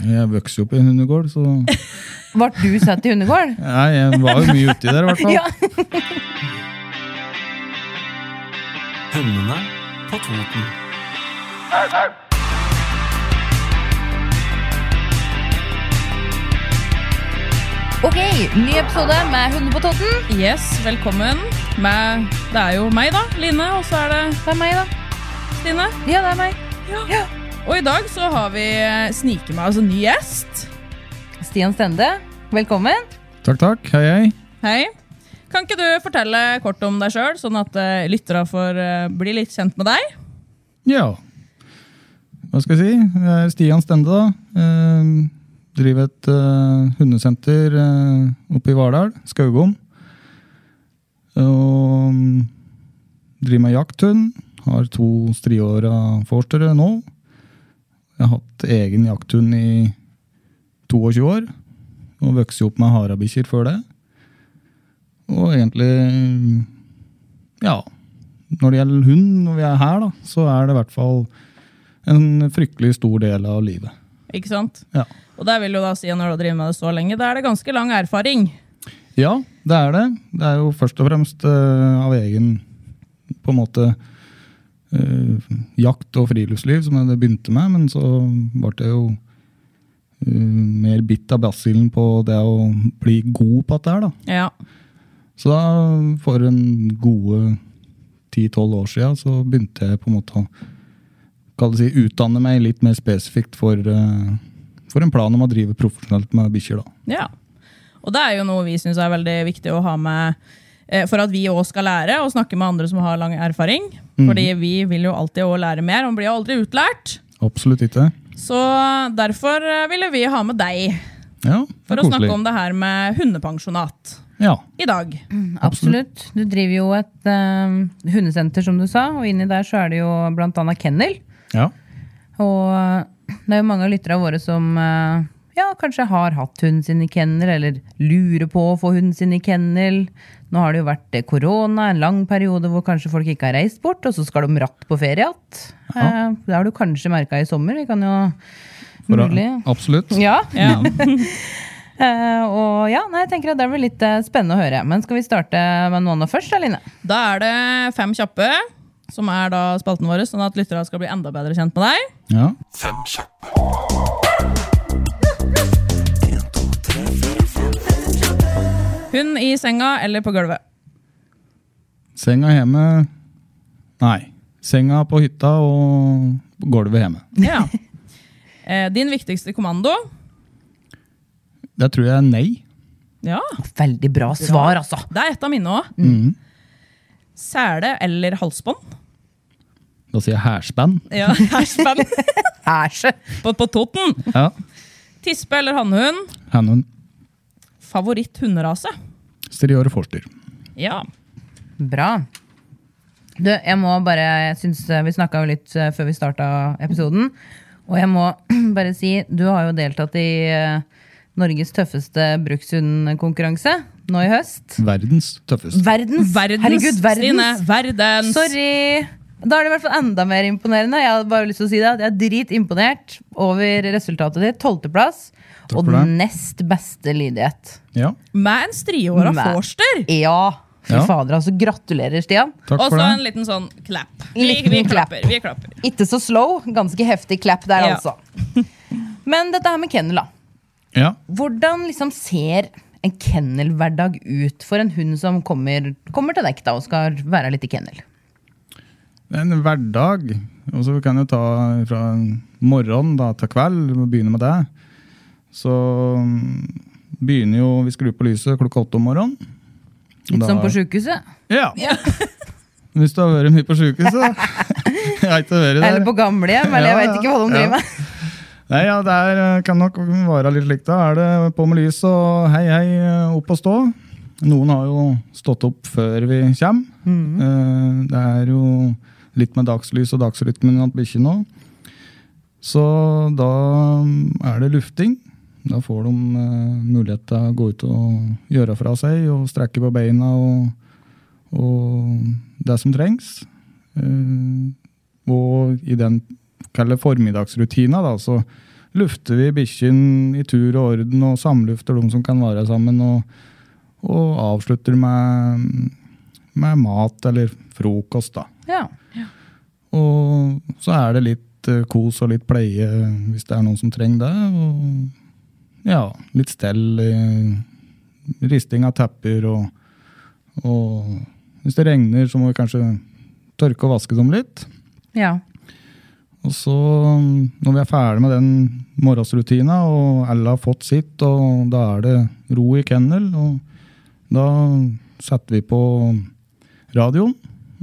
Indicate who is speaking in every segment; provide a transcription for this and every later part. Speaker 1: Jeg vokste jo opp i en hundegård, så
Speaker 2: Ble du satt i hundegård?
Speaker 1: Nei, jeg var jo mye uti der, i hvert fall.
Speaker 2: Ja.
Speaker 3: Hundene på Toten.
Speaker 2: Ok, ny episode med Hunder på totten.
Speaker 4: Yes, velkommen. Med, det er jo meg, da. Line. Og så er det
Speaker 2: Det er meg, da.
Speaker 4: Stine.
Speaker 2: Ja, det er meg.
Speaker 4: Og i dag så har vi eh, sniket meg altså ny gjest.
Speaker 2: Stian Stende, velkommen.
Speaker 1: Takk, takk. Hei, hei.
Speaker 4: Hei. Kan ikke du fortelle kort om deg sjøl, sånn at eh, lyttere får eh, bli litt kjent med deg?
Speaker 1: Ja. Hva skal jeg si? Jeg er Stian Stende, da. Eh, driver et eh, hundesenter eh, oppe i Vardal, Skaugom. Og mm, driver med jakthund. Har to striåra forstere nå. Jeg har hatt egen jakthund i 22 år. Og vokste opp med harabikkjer før det. Og egentlig mm, Ja. når det gjelder hund, når vi er her, da, så er det i hvert fall en fryktelig stor del av livet.
Speaker 4: Ikke sant?
Speaker 1: Ja.
Speaker 4: Og det vil jo da si når du har drevet med det så lenge, da er det ganske lang erfaring.
Speaker 1: ja, det er det. Det er jo først og fremst eh, av egen på en måte eh, jakt og friluftsliv som jeg begynte med, men så ble det jo eh, mer bitt av basillen på det å bli god på dette her, da.
Speaker 4: Ja.
Speaker 1: Så da, for en gode 10-12 år siden, så begynte jeg på en måte å kall det si, utdanne meg litt mer spesifikt for, eh, for en plan om å drive profesjonelt med bikkjer. da.
Speaker 4: ja. Og det er jo noe vi syns er veldig viktig å ha med eh, for at vi òg skal lære og snakke med andre som har lang erfaring. Fordi vi vil jo alltid òg lære mer, og blir jo aldri utlært.
Speaker 1: Absolutt ikke.
Speaker 4: Så derfor eh, ville vi ha med deg
Speaker 1: Ja,
Speaker 4: for å snakke om det her med hundepensjonat
Speaker 1: Ja,
Speaker 4: i dag.
Speaker 2: Absolutt. Du driver jo et eh, hundesenter, som du sa, og inni der så er det jo blant annet kennel.
Speaker 1: ja.
Speaker 2: Og eh, det er jo mange av lytterne våre som eh, ja, kanskje har hatt hunden sin i kennel, eller lurer på å få hunden sin i kennel. Nå har det jo vært eh, korona, en lang periode hvor kanskje folk ikke har reist bort, og så skal de ratt på ferie igjen. Eh, Det har du kanskje merka i sommer. Vi kan jo
Speaker 1: For å-
Speaker 2: mulig
Speaker 1: Absolutt.
Speaker 2: Ja.
Speaker 4: Ja.
Speaker 2: Eh, og ja, nei, jeg tenker at det blir litt eh, spennende å høre. Men skal vi starte med noen av først, da, Line?
Speaker 4: Da er det Fem kjappe, som er da spalten vår, sånn at lytterne skal bli enda bedre kjent med deg.
Speaker 1: Ja.
Speaker 5: Fem kjappe.
Speaker 4: Hund i senga eller på gulvet.
Speaker 1: Senga hjemme Nei. Senga på hytta og gulvet hjemme.
Speaker 4: Ja. Eh, Din viktigste kommando.
Speaker 1: Det tror jeg er nei.
Speaker 4: Ja,
Speaker 2: Veldig bra svar, altså! Mm.
Speaker 4: det er et av mine òg. Sele eller halsbånd.
Speaker 1: Da sier jeg hærspenn.
Speaker 4: Ja, Herspenn.
Speaker 2: Æsje!
Speaker 4: På, på Toten.
Speaker 1: Ja.
Speaker 4: Tispe eller hannhund.
Speaker 1: Hannhund.
Speaker 4: Favoritt hunderase.
Speaker 1: Striore forster.
Speaker 4: Ja.
Speaker 2: Bra. Du, jeg må bare jeg synes eh, Vi snakka jo litt eh, før vi starta episoden. Og jeg må bare si, du har jo deltatt i eh, Norges tøffeste brukshundkonkurranse nå i høst.
Speaker 1: Verdens tøffeste.
Speaker 2: Verdens!
Speaker 4: Verdens,
Speaker 2: Herregud,
Speaker 4: Stine,
Speaker 2: verdens!
Speaker 4: verdens.
Speaker 2: Sorry! Da er det i hvert fall enda mer imponerende. Jeg hadde bare lyst til å si det at jeg er dritimponert over resultatet ditt. Tolvteplass. Og
Speaker 1: for det.
Speaker 2: den nest beste lydighet.
Speaker 1: Ja,
Speaker 4: Med en striåra
Speaker 2: Med-
Speaker 4: forster.
Speaker 2: Ja! Fy
Speaker 1: Ja.
Speaker 2: fader, altså. Gratulerer, Stian.
Speaker 1: takk
Speaker 4: Og
Speaker 1: for
Speaker 4: så
Speaker 1: det.
Speaker 4: en liten sånn clap. Vi,
Speaker 2: Liten
Speaker 4: vi
Speaker 2: clap.
Speaker 4: klapper. Vi klapper.
Speaker 2: Ikke så slow. Ganske heftig clap der,
Speaker 4: Ja.
Speaker 2: altså. Men dette her med kennel, da.
Speaker 1: Ja.
Speaker 2: Hvordan liksom ser en kennelhverdag ut for en hund som kommer, kommer til deg da, og skal være litt i kennel?
Speaker 1: Det er En hverdag. Og så kan du ta fra morgen da, til kveld, og begynne med det. Så mm, begynner jo Vi skrur på lyset klokka åtte om morgenen.
Speaker 2: Litt
Speaker 1: Da-
Speaker 2: som på sjukehuset?
Speaker 1: Ja. Hvis du har vært mye på sjukehuset. Jeg har ikke vært der.
Speaker 2: Eller på gamlehjem? Eller jeg
Speaker 1: Ja,
Speaker 2: vet ikke hva de
Speaker 1: ja.
Speaker 2: driver med.
Speaker 1: Nei, ja, det er, eh, kan nok være litt slik. Da er det på med lys og hei, hei, eh, opp og stå. Noen har jo stått opp før vi kommer. Eh, Det er jo litt med dagslys og dagsrytmen at bikkje nå. Så da mm, er det lufting. Da får de eh, mulighet til å gå ut og gjøre fra seg og strekke på beina og, og det som trengs. Eh, og i den kall det formiddagsrutina, da, så lufter vi bikkjen i tur og orden og samlufter de som kan være sammen, og, og avslutter med, med mat eller frokost, da.
Speaker 2: Ja.
Speaker 1: Og så er det litt eh, kos og litt pleie hvis det er noen som trenger det. Og ja, litt stell. eh, Risting av tepper og, og Hvis det regner, så må vi kanskje tørke og vaske dem litt.
Speaker 2: ja.
Speaker 1: Og så, mm, når vi er ferdig med den morgensrutina, og alle har fått sitt, og da er det ro i kennel, og da setter vi på radioen,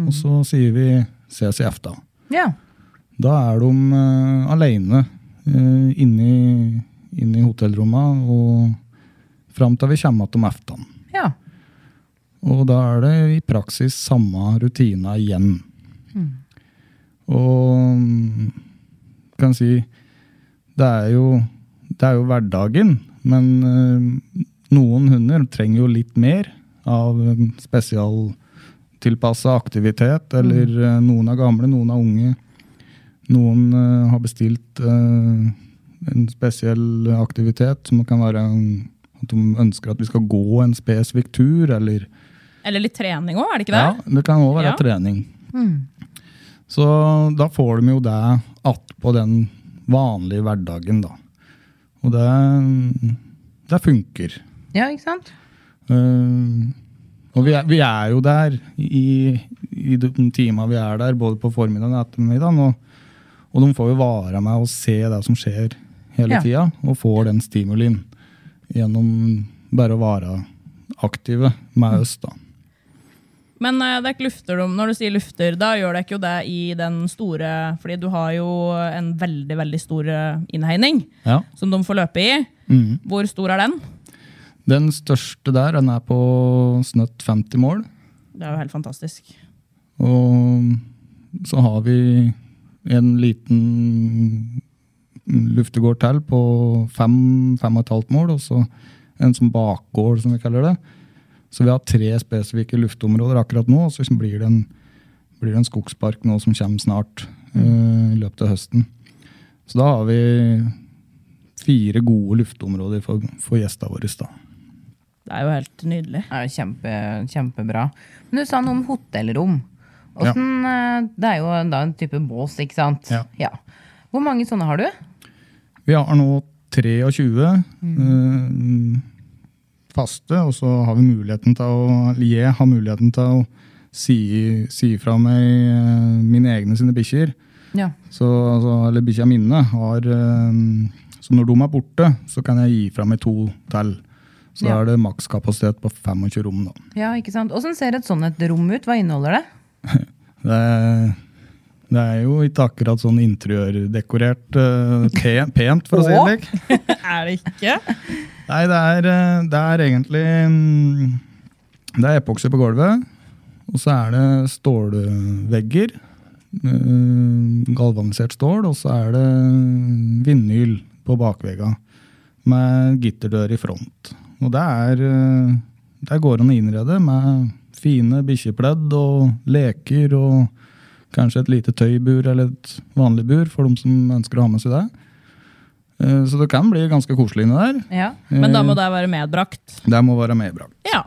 Speaker 1: og så sier vi ses i efta.
Speaker 2: Ja.
Speaker 1: Da er de eh, alene eh, inne, i- inne i hotellrommet, og fram til vi kommer tilbake om eftan.
Speaker 2: Ja.
Speaker 1: Og da er det i praksis samme rutina igjen. Og mm, kan si det er, jo, det er jo hverdagen, men eh, noen hunder trenger jo litt mer av eh, spesialtilpassa aktivitet. Eller eh, noen er gamle, noen er unge. Noen eh, har bestilt eh, en spesiell aktivitet som kan være en, at de ønsker at vi skal gå en spesifikk tur, eller
Speaker 4: Eller litt trening òg, er det ikke det?
Speaker 1: ja, det kan òg være
Speaker 4: Ja. Mm.
Speaker 1: trening. Så da får de jo det attpå den vanlige hverdagen, da. Og det, det funker.
Speaker 2: Ja, ikke sant?
Speaker 1: Eh, og vi er, vi er jo der i, i de timene vi er der, både på formiddagen og ettermiddagen. Og, og de får jo være med og se det som skjer hele
Speaker 2: Ja.
Speaker 1: tida, og får den stimulien gjennom bare å være aktive med oss, da.
Speaker 4: Men eh, det er ikke lufter, de- når du sier lufter, da gjør det ikke jo det i den store Fordi du har jo en veldig, veldig stor eh, innhegning
Speaker 1: Ja.
Speaker 4: som de får løpe i.
Speaker 1: Mhm.
Speaker 4: Hvor stor er den?
Speaker 1: Den største der, den er på snøtt 50 mål.
Speaker 4: Det er jo helt fantastisk.
Speaker 1: Og så har vi en liten luftegård til på fem, fem og et halvt mål, og så en som bakgård, som vi kaller det. Så vi har tre spesifikke luftområder akkurat nå, og så liksom blir det en, blir det en skogspark nå som kommer snart eh, i løpet av høsten. Så da har vi fire gode luftområder for, for gjestene våre. Da.
Speaker 4: Det er jo helt nydelig.
Speaker 2: Det er jo kjempe, kjempebra. Men du sa noe om hotellrom. Åssen, eh, Det er jo da en type bås, ikke sant?
Speaker 1: Ja.
Speaker 2: Hvor mange sånne har du?
Speaker 1: Vi har nå 23
Speaker 2: Mm.
Speaker 1: eh, faste, og så har vi muligheten til å eller Jeg har muligheten til å si, si fra meg eh, mine egne sine bikkjer.
Speaker 2: Ja.
Speaker 1: Så, altså, eller bikkja mine har eh, Så når de er borte, så kan jeg gi fra meg to til. Så
Speaker 2: Ja.
Speaker 1: er det makskapasitet på 25 rom, da.
Speaker 2: ja ikke sant? Åssen ser et sånt et rom ut? Hva inneholder det?
Speaker 1: Det, det er jo ikke akkurat sånn interiørdekorert eh, pen, pent, for å si det
Speaker 2: Åh.
Speaker 1: slik.
Speaker 4: Er det ikke?
Speaker 1: Nei, det er, eh, det er egentlig mm, Det er epoksy på gulvet. Og så er det stålvegger. eh, Galvanisert stål. Og så er det vinyl på bakvegga. Med gitterdør i front. Og det er eh, Der går an å innrede med fine bikkjepledd og leker og kanskje et lite tøybur eller et vanlig bur for de som ønsker å ha med seg det. Eh, Så det kan bli ganske koselig inni der.
Speaker 2: Ja.
Speaker 4: Men da må det være medbrakt.
Speaker 1: Det må være medbrakt.
Speaker 4: Ja.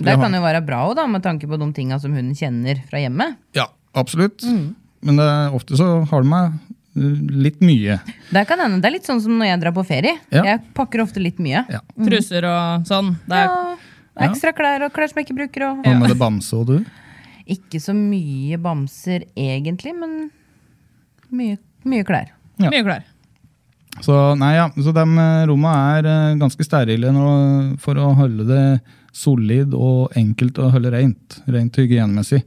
Speaker 2: Det kan jo være bra også, da, med tanke på de tinga som hunden kjenner fra hjemmet.
Speaker 1: Ja, absolutt. Men det, er- ofte så har de meg litt mye.
Speaker 2: Det kan hende. Det er litt sånn som når jeg drar på ferie.
Speaker 1: Ja.
Speaker 2: Jeg pakker ofte litt mye.
Speaker 1: Ja.
Speaker 4: Truser og sånn. Det er,
Speaker 2: Ja, Ekstra klær og klær som jeg ikke bruker. Og,
Speaker 1: Hva med det bamse og du?
Speaker 2: Ikke så mye bamser egentlig, men mye, mye klær.
Speaker 1: Ja.
Speaker 4: Mye klær.
Speaker 1: Så nei, ja. Så de eh, romma er eh, ganske sterile når, for å holde det solid og enkelt å holde rent. Rent hygienemessig.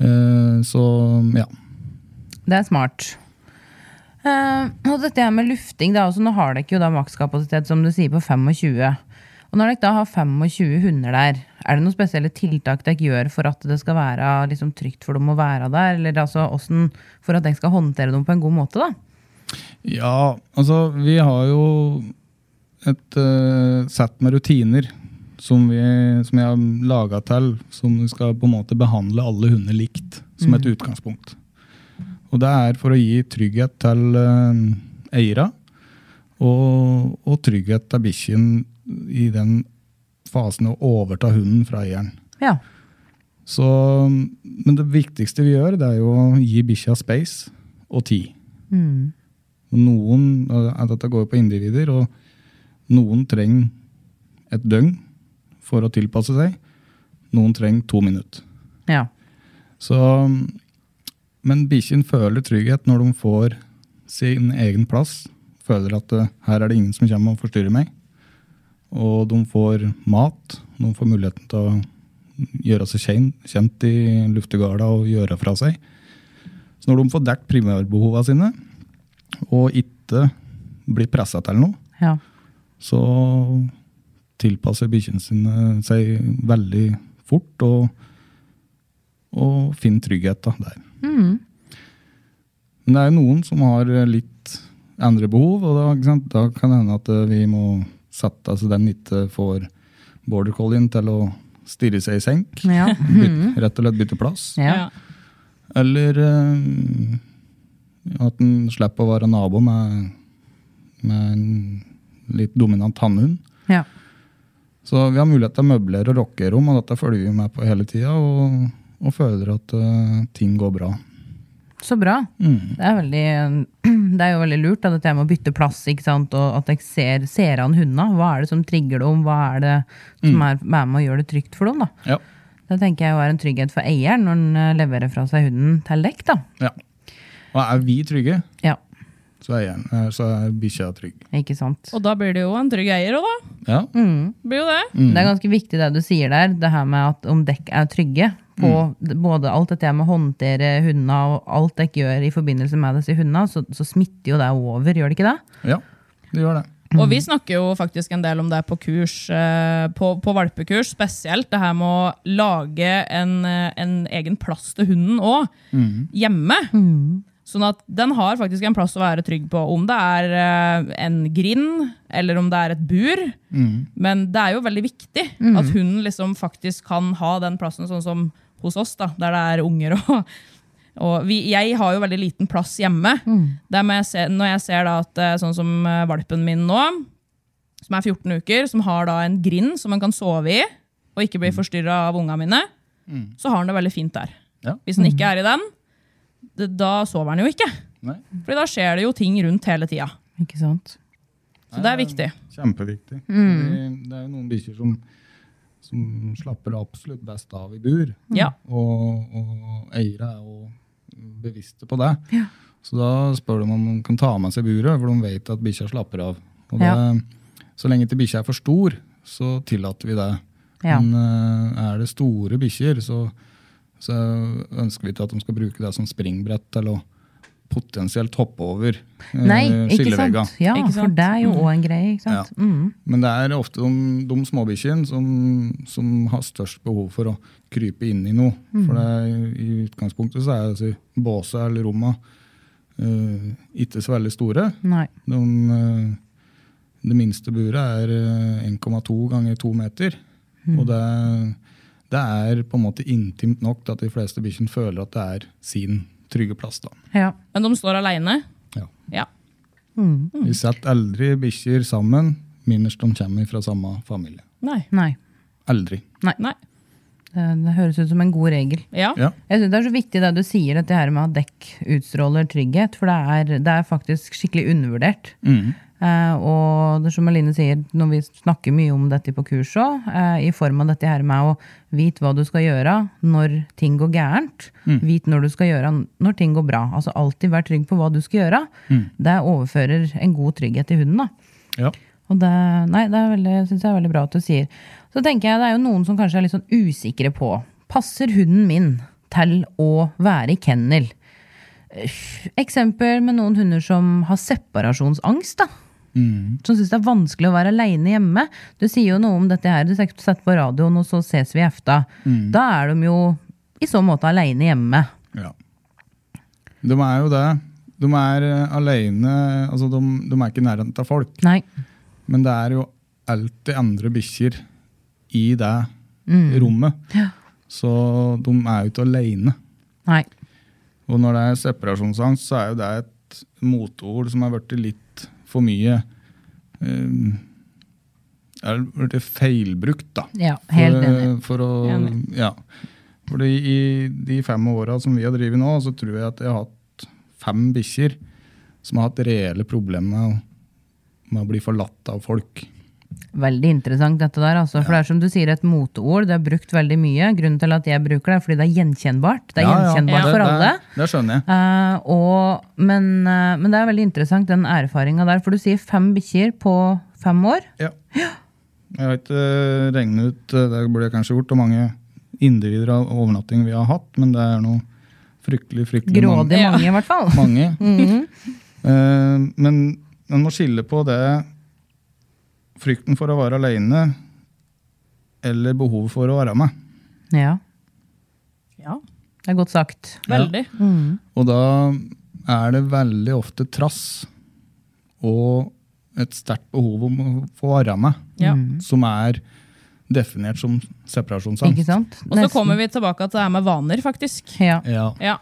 Speaker 1: Eh, Så ja.
Speaker 2: Det er smart. Eh, og dette her med lufting, da, altså, nå har dere jo da makskapasitet som du sier på 25. Og når dere da har 25 hunder der, er det noen spesielle tiltak dere gjør for at det skal være liksom, trygt for dem å være der? Eller altså, hvordan, for at dere skal håndtere dem på en god måte? da?
Speaker 1: Ja, altså vi har jo et eh, sett med rutiner som, vi, som jeg har laga til, som vi skal på en måte behandle alle hunder likt, som et utgangspunkt. Og det er for å gi trygghet til uh, eiere, og, og trygghet til bikkjen i den fasen å overta hunden fra eieren.
Speaker 2: Ja.
Speaker 1: Så, men det viktigste vi gjør, det er jo å gi bikkja space og tid. Noen, eh, dette går jo på individer, og noen trenger et døgn for å tilpasse seg. Noen trenger to minutter.
Speaker 2: ja.
Speaker 1: Så, men bikkjen føler trygghet når de får sin egen plass. Føler at eh, her er det ingen som kommer og forstyrrer meg. Og de får mat. De får muligheten til å gjøre seg kjen- kjent i luftegarda og gjøre fra seg. Så når de får dekket primærbehova sine, og ikke blir pressa til noe,
Speaker 2: ja.
Speaker 1: så tilpasser bikkjene sine seg veldig fort og, og finner trygghet da, der.
Speaker 2: Mm.
Speaker 1: Men det er jo noen som har litt andre behov, og da, ikke sant? da kan det hende at eh, vi må sette altså den ikke får border collien til å stirre seg i senk.
Speaker 2: Ja. Mm.
Speaker 1: Byt, rett og slett bytte plass.
Speaker 2: ja.
Speaker 4: Ja.
Speaker 1: Eller eh, at en slipper å være nabo med, med en litt dominant hannhund.
Speaker 2: ja.
Speaker 1: Så vi har mulighet til å møblere og rocke rom, og dette følger vi med på hele tida. Og, og føler at eh, ting går bra. Mm.
Speaker 2: Så bra. Det, er veldig, det er jo veldig lurt da, dette her med å bytte plass, ikke sant? og at jeg ser, ser an hundene. Hva er det som trigger dem, hva er det som er er med og gjør det trygt for dem? da?
Speaker 1: Ja.
Speaker 2: Det tenker jeg jo er en trygghet for eieren når han eh, leverer fra seg hunden til dekk. da.
Speaker 1: ja. Og er vi trygge,
Speaker 2: Ja,
Speaker 1: så er, eieren- eh, så er bikkja trygg.
Speaker 2: ikke sant?
Speaker 4: Og da blir det jo en trygg eier òg, da.
Speaker 1: Ja.
Speaker 4: Mm. Blir jo det.
Speaker 2: Det er ganske viktig det du sier der, det her med at om dekk er trygge. På d- både alt dette her med å håndtere hundene og alt dekk gjør i forbindelse med disse hundene, så, så smitter jo det over, gjør det ikke det?
Speaker 1: ja, det gjør det.
Speaker 4: Og vi snakker jo faktisk en del om det på kurs, eh, på, på valpekurs spesielt. Det her med å lage en, eh, en egen plass til hunden òg, hjemme. Sånn at den har faktisk en plass å være trygg på, om det er eh, en grind eller om det er et bur. Men det er jo veldig viktig at hunden liksom faktisk kan ha den plassen, sånn som hos oss, da, der det er unger og og vi, jeg har jo veldig liten plass hjemme. Det er når, jeg ser, når jeg ser da at eh, sånn som eh, valpen min nå, som er 14 uker, som har da en grind som han kan sove i, og ikke
Speaker 1: Mm.
Speaker 4: bli forstyrra av unga mine, så har han det veldig fint der.
Speaker 1: Ja.
Speaker 4: Hvis han ikke er i den, det, da sover han jo ikke.
Speaker 1: Nei.
Speaker 4: For da skjer det jo ting rundt hele tida.
Speaker 2: Ikke sant?
Speaker 4: Så det er viktig. Mm.
Speaker 1: Kjempeviktig. Det, det er jo noen bikkjer som, som slapper absolutt best av i bur.
Speaker 4: Ja.
Speaker 1: Og, og eiere er jo bevisste på det. Så da spør de om de kan ta med seg buret, for de vet at bikkja slapper av. Og det,
Speaker 2: Ja.
Speaker 1: Så lenge ikke bikkja er for stor, så tillater vi det.
Speaker 2: Ja.
Speaker 1: Men eh, er det store bikkjer, så, så ønsker vi ikke at de skal bruke det som springbrett til å potensielt hoppe over eh,
Speaker 2: Nei, ikke
Speaker 1: skillevegga.
Speaker 2: sant? Ja,
Speaker 4: Ikke
Speaker 2: for
Speaker 4: sant? Mm.
Speaker 2: det er jo òg en greie, ikke sant?
Speaker 1: Ja.
Speaker 2: Mm.
Speaker 1: Men det er ofte de, de småbikkjene som, som har størst behov for å krype inn i noe.
Speaker 2: Mm.
Speaker 1: For det, er- i utgangspunktet så er altså båsa eller romma eh, ikke så veldig store.
Speaker 2: Nei.
Speaker 1: De, eh, det minste buret er eh, 1,2 ganger 2 meter.
Speaker 2: Mm.
Speaker 1: Og det, det er på en måte intimt nok til at de fleste bikkjene føler at det er sin trygge plass. da.
Speaker 2: Ja.
Speaker 4: Men de står aleine.
Speaker 1: Ja.
Speaker 4: Ja.
Speaker 2: Mm.
Speaker 1: Vi setter aldri bikkjer sammen minst de kommer fra samme familie.
Speaker 4: Nei.
Speaker 2: Nei.
Speaker 1: Aldri.
Speaker 4: Nei.
Speaker 2: Det, det høres ut som en god regel.
Speaker 4: Ja.
Speaker 1: Ja.
Speaker 2: Jeg synes Det er så viktig det du sier, dette her med at dekk utstråler trygghet. For det er, det er faktisk skikkelig undervurdert.
Speaker 1: Mm.
Speaker 2: Eh, og det er som Eline sier, når vi snakker mye om dette på kurs òg, eh, i form av dette her med å vite hva du skal gjøre når ting går gærent.
Speaker 1: Mm.
Speaker 2: Vite når du skal gjøre når ting går bra. Altså alltid være trygg på hva du skal gjøre.
Speaker 1: Mm.
Speaker 2: Det overfører en god trygghet til hunden. da.
Speaker 1: Ja.
Speaker 2: Og det, nei, det er veldig, synes jeg er veldig bra at du sier. Så tenker jeg det er jo noen som kanskje er litt sånn usikre på. Passer hunden min til å være i kennel? eksempel med noen hunder som har separasjonsangst. da.
Speaker 1: Mm.
Speaker 2: Som syns det er vanskelig å være aleine hjemme. Du sier jo noe om dette her, du setter på radioen, og så ses vi i efta. Da er de jo i så måte aleine hjemme.
Speaker 1: Ja. De er jo det. De er eh, alene altså de, de er ikke i nærheten av folk.
Speaker 2: Nei.
Speaker 1: Men det er jo alltid andre bikkjer i det rommet. Så de er jo ikke aleine.
Speaker 2: Nei.
Speaker 1: Og når det er separasjonsangst, så er jo det et motord som har blitt litt for mye eh, Det er blitt feilbrukt, da.
Speaker 2: Ja, helt
Speaker 1: for,
Speaker 2: enig.
Speaker 1: For å,
Speaker 4: Enig.
Speaker 1: ja. Fordi i de fem åra som vi har drevet nå, så tror jeg at jeg har hatt fem bikkjer som har hatt reelle problemer med, å- med å bli forlatt av folk.
Speaker 2: Veldig interessant dette der, altså. For det er som du sier, et moteord. Det er brukt veldig mye. Grunnen til at jeg bruker det, er fordi det er gjenkjennbart. Det er
Speaker 1: Ja, ja.
Speaker 2: gjenkjennbart
Speaker 1: Det-
Speaker 2: for alle.
Speaker 1: Det, det skjønner jeg.
Speaker 2: Eh, og, men, eh, men det er veldig interessant, den erfaringa der. For du sier fem bikkjer på fem år.
Speaker 1: Ja. Jeg har ikke eh, regnet ut, eh, det burde jeg kanskje gjort, hvor mange individer av overnatting vi har hatt, men det er noe fryktelig, fryktelig mange.
Speaker 2: Grådig
Speaker 4: Ja.
Speaker 2: mange, i hvert fall.
Speaker 1: mange. Eh, men man må skille på det frykten for å være alene eller behovet for å være med.
Speaker 2: Ja,
Speaker 4: Ja,
Speaker 2: det er godt sagt.
Speaker 4: veldig. Mm.
Speaker 1: Og da er det veldig ofte trass og et sterkt behov om å få være med,
Speaker 4: Ja.
Speaker 1: som er definert som separasjonsangst.
Speaker 2: Ikke sant?
Speaker 4: Og så kommer vi tilbake til det her med vaner, faktisk.
Speaker 2: Ja.
Speaker 1: Ja.
Speaker 4: Ja.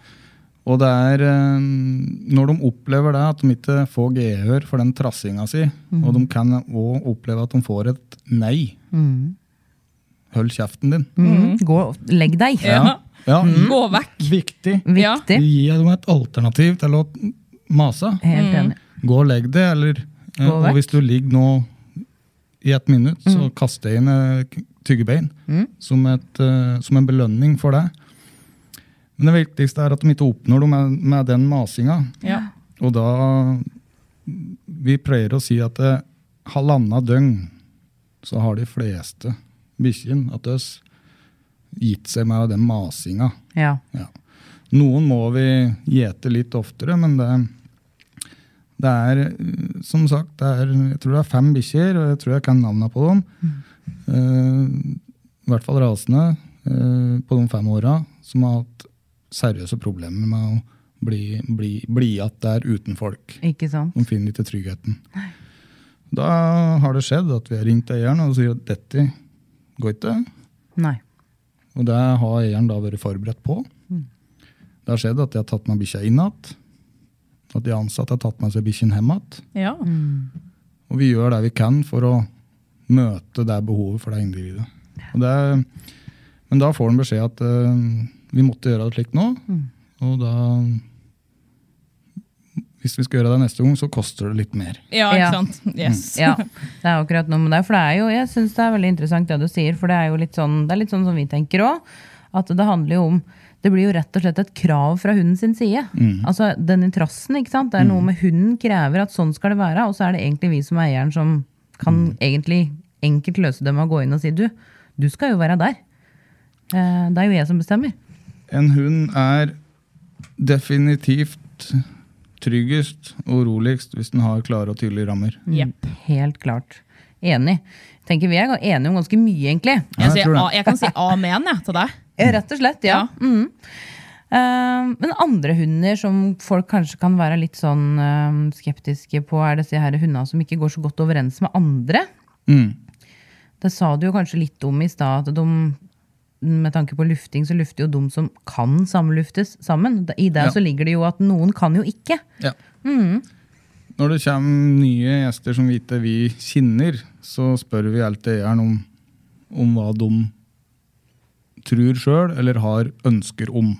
Speaker 1: Og det er eh, når de opplever det, at de ikke får gehør for den trassinga si,
Speaker 2: Mhm.
Speaker 1: og de kan òg oppleve at de får et nei. Hold kjeften din.
Speaker 2: Mm. Gå, legg deg.
Speaker 4: Ja.
Speaker 1: Ja,
Speaker 2: Mhm.
Speaker 4: Gå vekk.
Speaker 1: Viktig.
Speaker 4: Ja.
Speaker 2: Viktig.
Speaker 1: Gi dem et alternativ til å mase.
Speaker 2: Helt
Speaker 4: Mm.
Speaker 2: enig.
Speaker 1: Gå og legg deg, eller eh,
Speaker 2: Gå
Speaker 1: Og
Speaker 2: vekk. Mhm.
Speaker 1: hvis du ligger nå i et minutt, så kaster jeg inn eh, k- tyggebein som, et, eh, som en belønning for det. Men det viktigste er at de ikke oppnår det med, med den masinga.
Speaker 4: Ja.
Speaker 1: Og da Vi pleier å si at eh, halvannet døgn så har de fleste bikkjene at oss gitt seg med den masinga.
Speaker 2: Ja.
Speaker 1: Ja. Noen må vi gjete litt oftere, men det, det er eh, som sagt det er, Jeg tror det er fem bikkjer, og jeg tror jeg kan navnene på dem. Eh, I hvert fall rasende eh, på de fem åra som har hatt seriøse problemer med å bli, bli, bli at det er uten folk.
Speaker 2: Ikke sant?
Speaker 1: De finner ikke tryggheten. Da har det skjedd at vi har ringt eieren og sier at dette går ikke.
Speaker 2: Nei.
Speaker 1: Og det har eieren da vært forberedt på. Det har skjedd at de har tatt med bikkja inn igjen. At de ansatte har tatt med seg bikkjen hjem igjen.
Speaker 4: Ja.
Speaker 1: Og vi gjør det vi kan for å møte det behovet for det individet. Og det, men da får han beskjed at eh, vi måtte gjøre det slik nå. Og da Hvis vi skal gjøre det neste gang, så koster det litt mer.
Speaker 4: ja,
Speaker 2: Ja. Mm.
Speaker 4: ikke sant? Yes.
Speaker 2: Ja, det er akkurat noe med det. For det er jo, jeg syns det er veldig interessant det du sier, for det er jo litt sånn, det er litt sånn som vi tenker òg. At det handler jo om Det blir jo rett og slett et krav fra hunden sin side. Altså den interessen, ikke sant. Det er noe med hunden krever at sånn skal det være, og så er det egentlig vi som er eieren som kan egentlig enkelt løse det med å gå inn og si du, du skal jo være der. Eh, Det er jo jeg som bestemmer.
Speaker 1: En hund er definitivt tryggest og roligst hvis den har klare og tydelige rammer.
Speaker 2: Mm.
Speaker 4: Jepp.
Speaker 2: Helt klart. Enig. Jeg Tenker vi er ga- enige om ganske mye, egentlig.
Speaker 4: Jeg,
Speaker 1: jeg
Speaker 4: sier,
Speaker 1: tror det.
Speaker 4: a- jeg kan si amen jeg, til deg.
Speaker 2: Ja, Rett og slett, ja. Mhm. Eh, men andre hunder som folk kanskje kan være litt sånn eh, skeptiske på, er disse her hundene som ikke går så godt overens med andre.
Speaker 1: Mm.
Speaker 2: Det sa du jo kanskje litt om i stad, at de med tanke på lufting, så lufter jo de som kan samluftes sammen. I det
Speaker 1: Ja.
Speaker 2: så ligger det jo at noen kan jo ikke.
Speaker 1: Ja. Når det kommer nye gjester som vi ikke vi kjenner, så spør vi alltid eieren om, om hva de tror sjøl eller har ønsker om.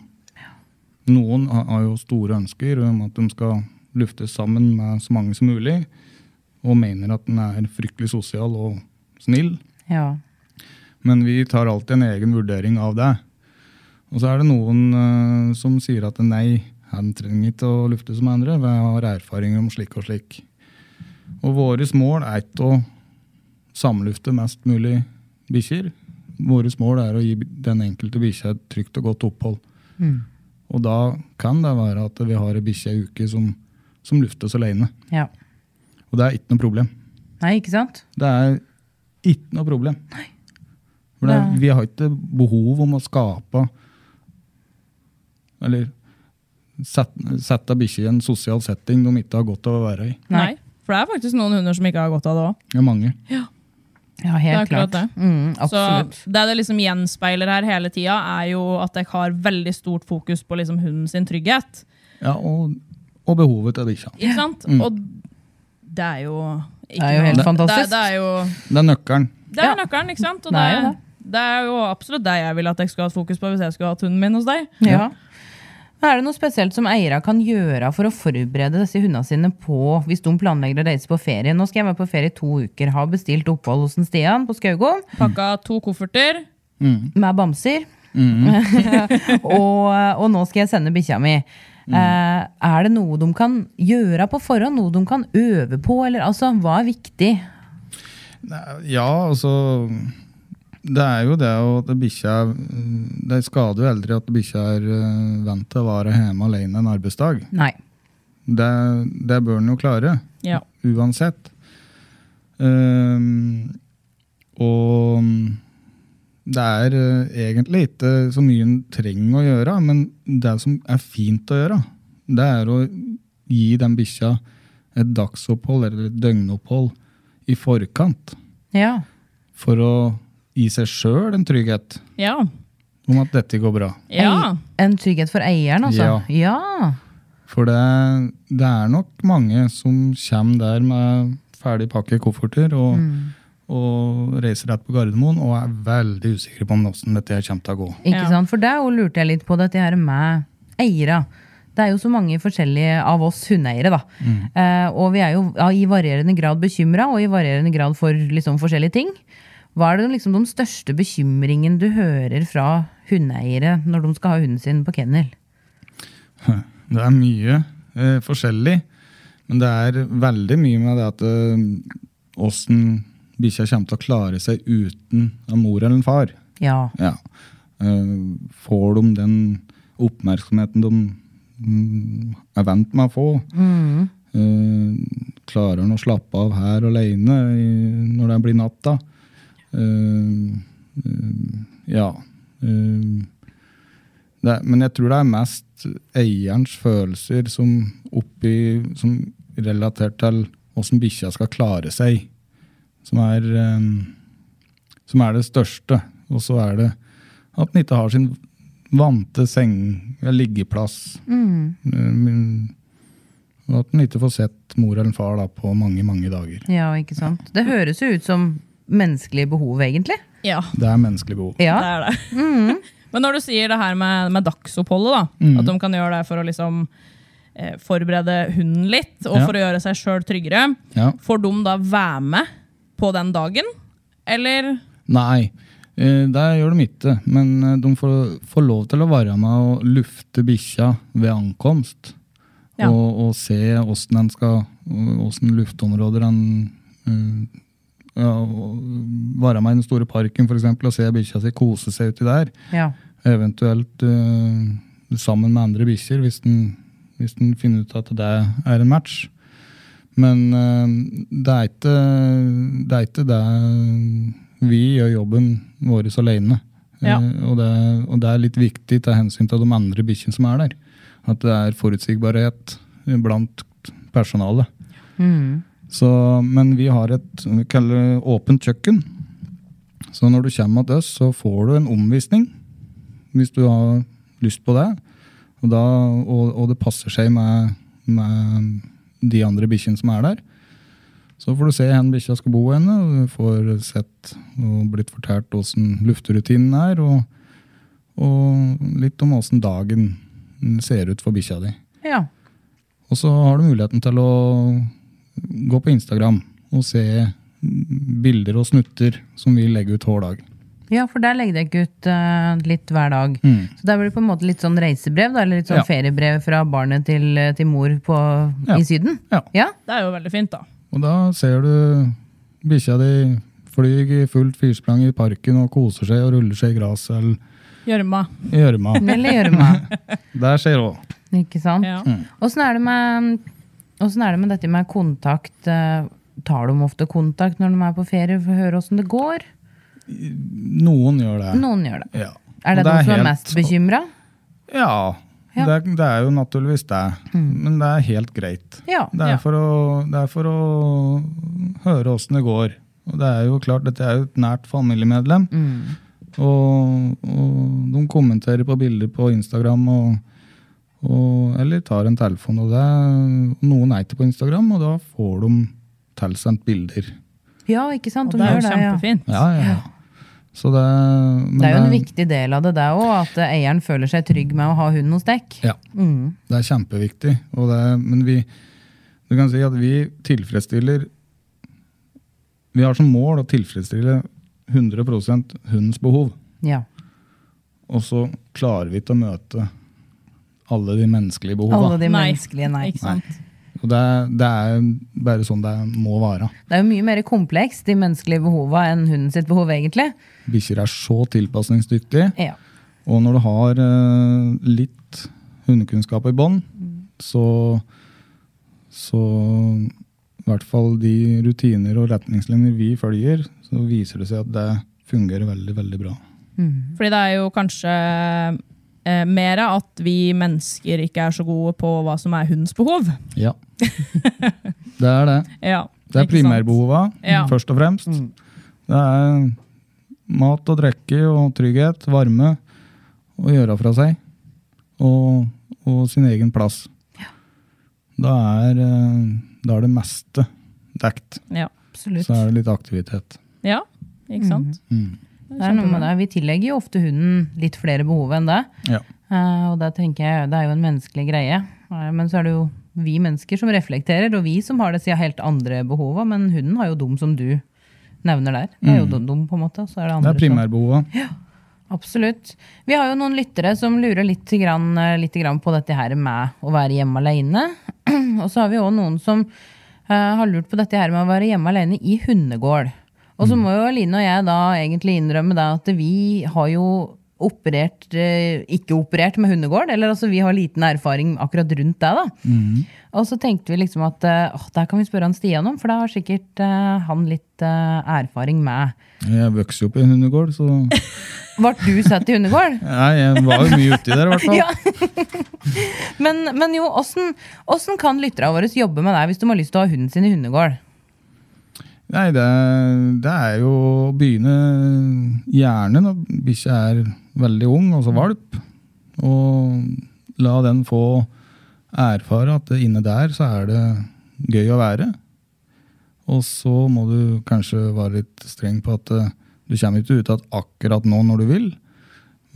Speaker 1: Noen har har jo store ønsker om at de skal luftes sammen med så mange som mulig, og mener at den er fryktelig sosial og snill.
Speaker 2: Ja.
Speaker 1: Men vi tar alltid en egen vurdering av det. Og så er det noen eh, som sier at nei, han trenger ikke å lufte som andre, vi har erfaringer om slik og slik. Og våres mål er ikke å samlufte mest mulig bikkjer. Våres mål er å gi den enkelte bikkja et trygt og godt opphold. Og da kan det være at vi har ei bikkje ei uke som, som luftes alene.
Speaker 2: Ja.
Speaker 1: Og det er ikke noe problem.
Speaker 2: Nei, ikke sant?
Speaker 1: Det er ikke noe problem. For det,
Speaker 2: Nei.
Speaker 1: vi har ikke behov om å skape Eller sette, sette bikkjer i en sosial setting de ikke har godt av å være i.
Speaker 4: Nei. For det er faktisk noen hunder som ikke har godt av det òg.
Speaker 1: Det er mange.
Speaker 2: Ja,
Speaker 4: Det er
Speaker 2: helt
Speaker 4: akkurat
Speaker 2: klart. Mm,
Speaker 4: Så
Speaker 2: absolutt.
Speaker 4: det det liksom gjenspeiler her hele tida, er jo at jeg har veldig stort fokus på liksom hunden sin trygghet.
Speaker 1: Ja, og, og behovet til bikkja.
Speaker 4: Ikke sant?
Speaker 1: Mm.
Speaker 4: Og det er jo ikke
Speaker 2: Det er jo
Speaker 4: noe-
Speaker 2: helt
Speaker 4: Det,
Speaker 2: fantastisk.
Speaker 4: det er jo
Speaker 1: Det er nøkkelen.
Speaker 4: det er
Speaker 2: Ja.
Speaker 4: nøkkelen, ikke sant? Og
Speaker 2: Det
Speaker 4: det,
Speaker 2: er jo det.
Speaker 4: det er jo absolutt det jeg ville at jeg skulle hatt fokus på hvis jeg skulle hatt hunden min hos deg.
Speaker 2: Ja. Er det noe spesielt som eiere kan gjøre for å forberede disse hundene sine på hvis de planlegger å reise på ferie? Nå skal jeg være på ferie i to uker, har bestilt opphold hos en Stian på Skaugom
Speaker 4: Pakka to kofferter.
Speaker 2: med bamser. Mhm. og, og nå skal jeg sende bikkja mi. Eh, er det noe de kan gjøre på forhånd? Noe de kan øve på? Eller altså, hva er viktig?
Speaker 1: Ja, altså Det er jo det at bikkja mm, Det skader jo aldri at bikkja er øh, vant til å være hjemme alene en arbeidsdag.
Speaker 2: Nei.
Speaker 1: Det, det bør den jo klare.
Speaker 4: Ja.
Speaker 1: uansett. Ehm, og det er eh, egentlig ikke så mye en trenger å gjøre, men det som er fint å gjøre, det er å gi den bikkja et dagsopphold eller et døgnopphold i forkant.
Speaker 2: Ja.
Speaker 1: For å gi seg sjøl en trygghet
Speaker 4: Ja.
Speaker 1: om at dette går bra.
Speaker 4: ja.
Speaker 2: Ei- En trygghet for eieren, altså? Ja.
Speaker 1: For det, det er nok mange som kommer der med ferdig pakke kofferter og, og reiser rett på Gardermoen og er veldig usikre på om hvordan dette her kommer til å gå.
Speaker 2: Ikke
Speaker 4: Ja.
Speaker 2: sant? For der jo lurte jeg litt på dette her med eiere. Det er jo så mange forskjellige av oss hundeeiere, da. Eh, og vi er jo ja, i varierende grad bekymra, og i varierende grad for liksom, forskjellige ting. Hva er det liksom de største bekymringen du hører fra hundeeiere når de skal ha hunden sin på kennel?
Speaker 1: Det er mye eh, forskjellig, men det er veldig mye med det at eh, åssen bikkja kommer til å klare seg uten en mor eller en far.
Speaker 2: Ja.
Speaker 1: Ja. Eh, får de den oppmerksomheten de mm, er vant med å få? Eh, klarer han å slappe av her alene i, når det blir natt, da? Eh, eh, ja. Eh, det, er- men jeg tror det er mest eierens følelser som, oppi, som relatert til åssen bikkja skal klare seg, som er eh, som er det største. Og så er det at den ikke har sin vante seng, eller liggeplass. Eh, men- Og at den ikke får sett mor eller far da, på mange, mange dager.
Speaker 2: ja, ikke sant. Det høres jo ut som menneskelige behov, egentlig.
Speaker 4: ja.
Speaker 1: Det er menneskelig behov.
Speaker 2: Ja.
Speaker 4: Det er det.
Speaker 2: Mm.
Speaker 4: Men når du sier det her med, med dagsoppholdet, da,
Speaker 1: Mm.
Speaker 4: at de kan gjøre det for å liksom eh, forberede hunden litt, og
Speaker 1: Ja.
Speaker 4: for å gjøre seg sjøl tryggere,
Speaker 1: Ja.
Speaker 4: får de da være med på den dagen? Eller
Speaker 1: Nei, eh, det gjør de ikke. Men eh, de får, får lov til å være med og lufte bikkja ved ankomst.
Speaker 4: Ja.
Speaker 1: Og, og se åssen den skal Åssen luftområder den eh, ja, og Være med i den store parken, f.eks., og se bikkja si kose seg uti der.
Speaker 2: ja.
Speaker 1: Eventuelt eh, sammen med andre bikkjer, hvis, den- hvis den finner ut at det er en match. Men eh, det, er ikke, det er ikke det Vi gjør jobben vår alene. Eh,
Speaker 4: Ja.
Speaker 1: og, det, og det er litt viktig til hensyn til de andre bikkjene som er der. At det er forutsigbarhet blant personalet.
Speaker 2: Mm.
Speaker 1: Så, men vi har et vi kaller det åpent kjøkken. Så når du kommer til oss, så får du en omvisning hvis du har lyst på det. Og, da, og, og det passer seg med, med de andre bikkjene som er der. Så får du se hvor bikkja skal bo henne, og du får sett og blitt fortalt åssen lufterutinen er, og, og litt om åssen dagen ser ut for bikkja di.
Speaker 2: ja.
Speaker 1: Og så har du muligheten til å gå på Instagram og se bilder og snutter som vi legger ut hver dag.
Speaker 2: Ja, for der legger dere ut eh, litt hver dag. Så der blir det på en måte litt sånn reisebrev, da, eller litt sånn
Speaker 1: Mm. Ja.
Speaker 2: feriebrev fra barnet til, eh, til mor på,
Speaker 1: Ja.
Speaker 2: i Syden?
Speaker 1: Ja.
Speaker 2: Ja?
Speaker 4: Det er jo veldig fint, da.
Speaker 1: Og da ser du bikkja di flyr i fullt firsprang i parken og koser seg og ruller seg i gresset eller
Speaker 4: Gjørma.
Speaker 1: i gjørma.
Speaker 2: Eller gjørma.
Speaker 1: Der skjer òg.
Speaker 2: Ikke sant?
Speaker 4: Ja.
Speaker 1: Mm.
Speaker 2: Åssen er, det med- hvordan er det med dette med kontakt? eh, Tar de ofte kontakt når de er på ferie for å høre åssen det går?
Speaker 1: Noen gjør det.
Speaker 2: Noen gjør det.
Speaker 1: Ja.
Speaker 2: Er det,
Speaker 1: Og
Speaker 2: de som er
Speaker 1: helt-
Speaker 2: mest bekymra?
Speaker 1: Ja.
Speaker 2: Ja. Mm.
Speaker 1: Det, er, det er jo naturligvis det. Men det er helt greit.
Speaker 2: Ja.
Speaker 1: Det er,
Speaker 4: Ja.
Speaker 1: for, å, det er for å høre åssen det går. Og det er jo klart, dette er jo et nært familiemedlem.
Speaker 2: Mm.
Speaker 1: Og, og de kommenterer på bilder på Instagram og, og Eller tar en telefon. Og det er, noen er ikke på Instagram, og da får de tilsendt bilder.
Speaker 2: Ja, ikke sant?
Speaker 4: Og
Speaker 2: De
Speaker 4: det er
Speaker 2: gjør
Speaker 4: jo
Speaker 2: det, ja.
Speaker 4: kjempefint.
Speaker 1: Ja, ja, ja. Så det, men eh,
Speaker 2: Det er jo en viktig del av det, det òg. At eh, eieren føler seg trygg med å ha hunden hos Mm, dekk.
Speaker 1: Ja. Det er kjempeviktig. Og det, men vi, du kan si at vi tilfredsstiller Vi har som mål å tilfredsstille 100 hundens behov.
Speaker 2: Ja.
Speaker 1: Og så klarer vi ikke å møte alle de menneskelige
Speaker 2: Alle
Speaker 1: behova.
Speaker 2: de
Speaker 4: Nei.
Speaker 2: menneskelige nei.
Speaker 4: Ikke sant?
Speaker 1: Og det, er- det er bare sånn det må være.
Speaker 2: Det er jo mye mer komplekst, de menneskelige behova, enn hunden sitt behov, egentlig.
Speaker 1: Bikkjer er så tilpasningsdyktige.
Speaker 2: Ja.
Speaker 1: Og når du har eh, litt hundekunnskap i bånn, så, så i hvert fall de rutiner og retningslinjer vi følger, så viser det seg at det fungerer veldig, veldig bra.
Speaker 4: Fordi det er jo kanskje eh, mer at vi mennesker ikke er så gode på hva som er hundens behov.
Speaker 1: Ja. det er det.
Speaker 4: Ja,
Speaker 1: Det er
Speaker 4: ikke sant?
Speaker 1: primærbehova,
Speaker 4: Ja.
Speaker 1: først og fremst. Det er mat og drikke og trygghet, varme, å gjøre fra seg. Og, og sin egen plass. Da, er, eh, da er det meste dekt.
Speaker 4: Ja, absolutt.
Speaker 1: Så er det litt aktivitet.
Speaker 4: Ja, ikke
Speaker 2: Mm.
Speaker 4: sant?
Speaker 2: Det er noe med det. Vi tillegger jo ofte hunden litt flere behov enn det.
Speaker 1: Ja.
Speaker 2: Eh, og det tenker jeg, det er jo en menneskelig greie. Eh, Men så er det jo vi mennesker som reflekterer, og vi som har det siden helt andre behova. Men hunden har jo dem som du nevner der. Det er jo dum, dum på en måte. og Så er Mm. det
Speaker 1: Det
Speaker 2: andre
Speaker 1: er primærbehova.
Speaker 2: som Absolutt. Vi har jo noen lyttere som lurer litt, grann, eh, litt grann på dette her med å være hjemme alene. og så har vi òg noen som eh, har lurt på dette her med å være hjemme alene i hundegård. Og så må jo Line og jeg da egentlig innrømme det at vi har jo operert, eh, ikke operert med hundegård, eller altså vi har liten erfaring akkurat rundt det da. Og så tenkte vi liksom at eh, åh, der kan vi spørre han Stian om, for da har sikkert eh, han litt eh, erfaring med.
Speaker 1: Jeg vokste jo opp i en hundegård, så
Speaker 2: Ble du satt i hundegård?
Speaker 1: Nei, jeg var jo mye uti der, i hvert fall.
Speaker 2: Ja. men, men jo, åssen åssen kan lytterne våre jobbe med deg hvis de har lyst til å ha hunden sin i hundegård?
Speaker 1: Nei, det, det er jo å begynne gjerne når bikkja er veldig ung, altså valp, og la den få erfare at inne der så er det gøy å være. Og så må du kanskje være litt streng på at eh, du kommer ikke ut at akkurat nå når du vil,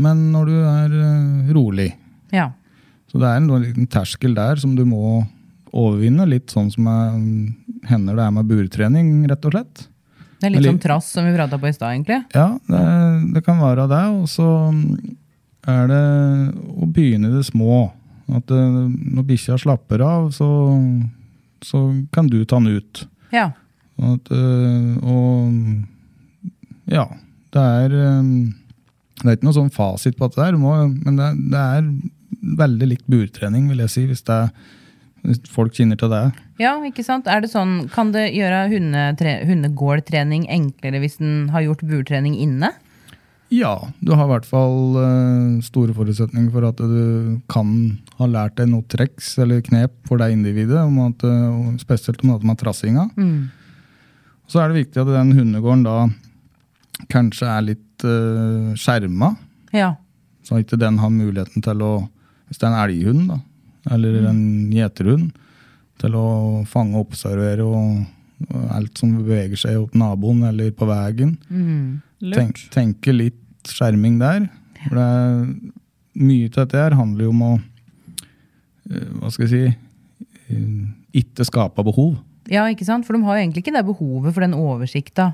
Speaker 1: men når du er eh, rolig.
Speaker 2: Ja.
Speaker 1: Så det er en liten terskel der som du må overvinne, litt sånn som eh, hender det er med burtrening, rett og slett.
Speaker 2: Det er litt
Speaker 1: Eller-
Speaker 2: sånn trass som vi prata på i stad, egentlig.
Speaker 1: Ja, det, det kan være det. Og så um, er det å begynne i det små. At eh, når bikkja slapper av, så, så kan du ta den ut.
Speaker 2: Ja.
Speaker 1: Og At, eh, og ja, det er eh, Det er ikke noe sånn fasit på at det er, du må, men det, er- det er veldig likt burtrening, vil jeg si, hvis, det, er- hvis folk kjenner til det.
Speaker 2: ja, ikke sant? Er det sånn, Kan det gjøre hundetre- hundegårdtrening enklere hvis en har gjort burtrening inne?
Speaker 1: Ja, du har i hvert fall eh, store forutsetninger for at du kan ha lært deg noen treks eller knep for det individet, om at, eh, og spesielt om dette med trassinga. Så er det viktig at den hundegården da kanskje er litt uh, skjerma,
Speaker 2: Ja.
Speaker 1: så ikke den har muligheten til å, hvis det er en elghund da, eller
Speaker 2: Mm.
Speaker 1: en gjeterhund, til å fange og observere og, og alt som beveger seg opp naboen eller på veien.
Speaker 2: Mm.
Speaker 1: Tenk, tenke litt skjerming der. For det er, mye av dette her handler jo om å eh, Hva skal jeg si eh, Ikke skape behov.
Speaker 2: ja, ikke sant? For de har jo egentlig ikke det behovet for den oversikta.